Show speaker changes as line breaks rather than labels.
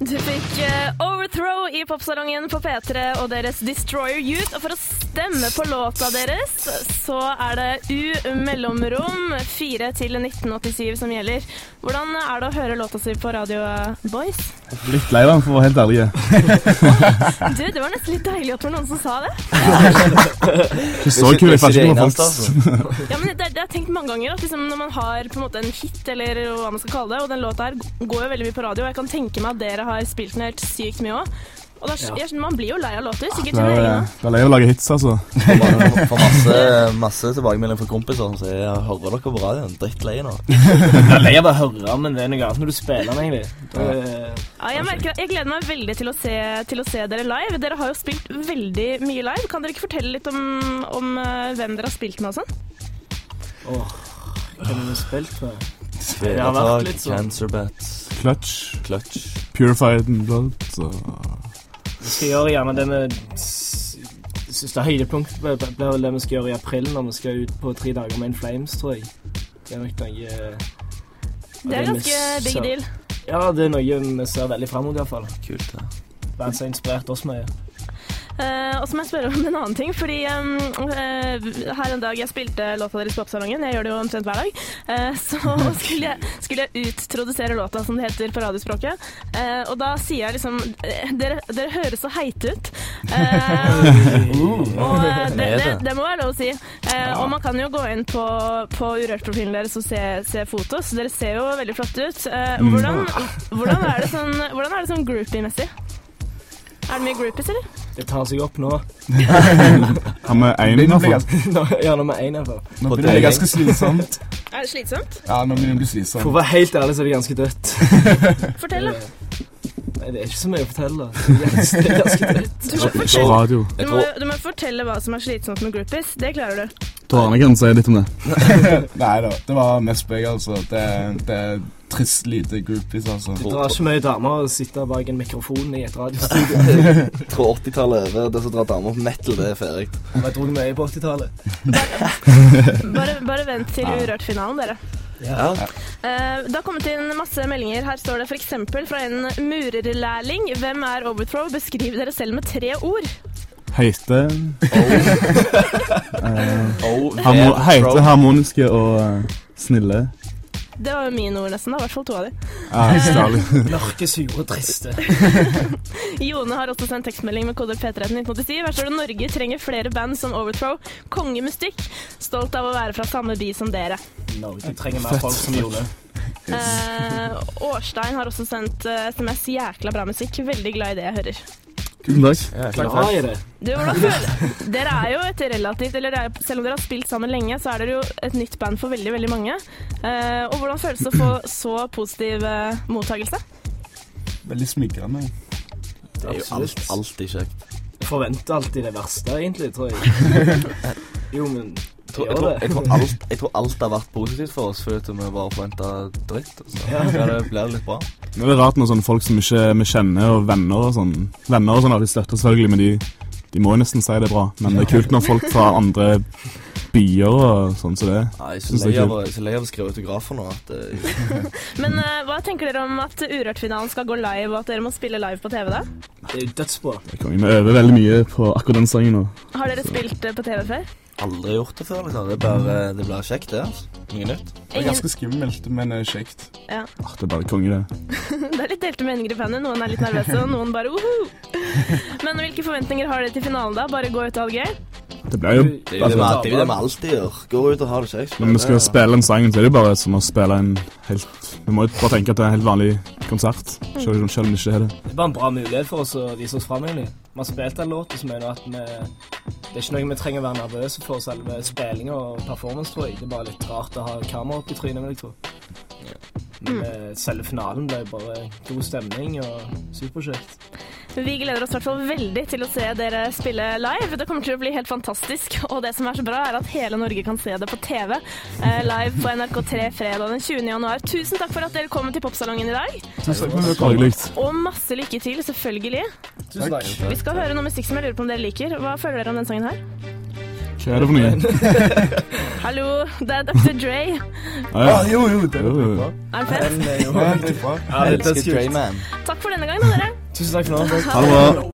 Du fikk eh, Overthrow i popsalongen på P3 og deres Destroyer Youth. Og for å stemme på låta deres, så er det U mellomrom 4 til 1987 som gjelder. Hvordan er det å høre låta si på radio, eh, boys?
Litt lei meg, for å være helt ærlig.
Du, det var nesten litt deilig at det var noen som sa det.
Ikke så kul jeg fant ikke noe
altså.
folk.
Ja, men det, det har jeg tenkt mange ganger at liksom, Når man har på en måte en hit, eller hva man skal kalle det Og den låta her g- går jo veldig mye på radio Og jeg kan tenke meg at dere har spilt den helt sykt mye også Og da, jeg skjønner, man blir jo lei av låter, sikkert
Det
sine
er,
egne
det er lei å lage hits, altså.
Får får masse, masse tilbakemelding fra kompiser som sier «Jeg 'hører dere på radioen?' Drittlei nå.
Jeg er lei av å høre, men det er noe annet når du spiller den, egentlig. Da, eh,
ja, jeg, merker, at jeg gleder meg veldig til å, se, til å se dere live Dere har jo spilt veldig mye live Kan dere ikke fortelle litt om, om eh, hvem dere har spilt med og sånn?
Åh, hva har vi spilt med? Det har vært
Svedetak,
litt sånn.
Cancer Bats,
Clutch,
Clutch.
Purified and Blood og
Vi skal gjøre gjerne det vi s- synes det er høydepunkt blir blir vel det vi skal gjøre i april, når vi skal ut på tre dager med In Flames, tror jeg. Det er nok noe eh,
Det er
vi
ganske big
ser-
deal
Ja, det er noe vi ser veldig fram mot, iallfall.
Kult, det.
Band som har inspirert oss mye.
Eh, og så må jeg spørre om en annen ting, fordi em, eh, her en dag jeg spilte låta deres på Popsalongen, jeg gjør det jo omtrent hver dag, eh, så skulle jeg, skulle jeg uttrodusere låta, som det heter på radiospråket, eh, og da sier jeg liksom eh, Dere, dere høres så heite ut. Eh, og eh, det, det, det må være lov å si. Eh, og man kan jo gå inn på, på Urørt-profilen deres og se, se fotos. Dere ser jo veldig flotte ut. Eh, hvordan, hvordan er det sånn, hvordan er det sånn groupie-messig? Er det mye groupies, eller?
Det tar seg opp nå.
Har vi én, i
Begynner å
hvert
bli
fall?
ganske-
Nå- Ja, nummer én, iallfall.
Nå begynner det å
På
bli
deg.
ganske slitsomt.
Er det slitsomt?
Ja, nå begynner det å bli
For å
slitsomt.
være helt ærlig, så er det ganske dødt. Eh,
Fortell, da.
Nei, det er ikke så mye å fortelle. Det er ganske dødt.
Du må,
På
fortelle,
radio.
du,
Jeg
må,
tror,
du må fortelle hva som er slitsomt med groupies. Det klarer du.
Tårene kan si litt om det.
Nei da, det var mest meg, altså. Det, det er trist lite groupies, altså.
Det drar ikke mye damer å sitte bak en mikrofon i et radiostudio.
jeg tror 80-tallet er over. Det som drar damer på metal, det er ferdig.
Jeg dro mye på 80-tallet.
Bare, bare vent til Urørt-finalen, dere.
Ja.
Eh, det har kommet inn masse meldinger. Her står det f.eks. fra en murerlærling. Hvem er Overthrow? Beskriv dere selv med tre ord.
Heite,
Oh,
harmo
yeah,
heite
bro.
harmoniske og eh, snille.
Det var jo mine ord, nesten. da, I hvert fall to av de.
Ja, særlig.
Mørke, sure og triste.
Jone har også sendt tekstmelding med kode P3 til 1987. Her står det Norge trenger flere band som Overthrow. Konge med stikk. Stolt av å være fra samme by som dere.
Norge trenger mer folk som Jone.
Eh, Årstein har også sendt eh, SMS. Jækla bra musikk. Veldig glad i det jeg hører.
Tusen takk.
Ja, klart
Glad
det.
i det.
Du, hvordan føler Dere er jo et relativt eller dere er, Selv om dere har spilt sammen lenge, så er dere jo et nytt band for veldig veldig mange. Eh, og hvordan føles det å få så positiv eh, mottakelse?
Veldig smigrende.
Det er jo alt,
Absolutt.
alltid kjekt.
Jeg forventer alltid det verste, egentlig, tror jeg. Jo, men
Jeg tror, jeg,
det gjør
tror,
det.
jeg, tror alt, jeg tror alt har vært positivt for oss, fordi at vi bare forventa dritt. og Så ja. det blir litt bra.
Men Det er rart når sånne folk som ikke vi kjenner, og venner og sånn Venner og sånn har de støtter selvfølgelig, men de, de må jo nesten si det er bra. Men det er kult når folk fra andre byer og sånn som det.
Nei, jeg er så
Synes det er
lei av å- jeg er så lei av å skrive autografer nå at eh,
Men eh, hva tenker dere om at Urørt-finalen skal gå live, og at dere må spille live på TV da?
Det er jo dødsbra.
Det kommer- Vi øver veldig mye på akkurat den sangen nå.
Har dere spilt eh, på TV før?
aldri har gjort det før. liksom. Det bare, det blir kjekt, det. altså. Mye nytt.
Det er ganske skummelt, men eh, kjekt.
ja.
Ah, Det er bare konge, det.
Det er litt delte meninger i bandet. Noen er litt nervøse, og noen bare uhu. Men hvilke forventninger har dere til finalen da? Bare gå ut og ha det gøy?
Det blir jo
Det er jo det vi
altså,
alltid- det er jo det vi alltid gjør. Går ut og har det kjekt.
Når vi skal spille en sang, så er det jo bare som å spille en helt Vi må jo bare tenke at det er en helt vanlig konsert, selv om selv om det ikke er det.
Det er bare en bra mulighet for oss å vise oss fram, egentlig. Vi har spilt en låt, og så mener jeg at vi Det er ikke noe vi trenger å være nervøse for selve spillinga og performance, tror jeg. Det er bare litt rart å ha kamera opp i trynet, vil jeg tro. Men eh, selve finalen ble jo bare god stemning og superkjekt.
Vi gleder oss i hvert fall veldig til å se dere spille live. Det kommer til å bli helt fantastisk. Og det som er så bra, er at hele Norge kan se det på TV eh, live på NRK3 fredag den 20. januar. Tusen takk for at dere kom til Popsalongen i dag.
Tusen takk. Hyggelig.
Og masse lykke til, selvfølgelig.
Tusen takk.
Vi skal høre noe musikk som jeg lurer på om dere liker. Hva føler dere om den sangen her?
Hva er det for noe?
Hallo, det er Dr. Dre.
Ah, ja.
jo, jo, det
Jo,
var
jo.
bra.
Er det fett?
Ja, det er bra.
Ja, det er
Elsker
kult.
Drayman.
Takk for denne gangen, da, dere.
Tusen takk for nå.
Ha det bra.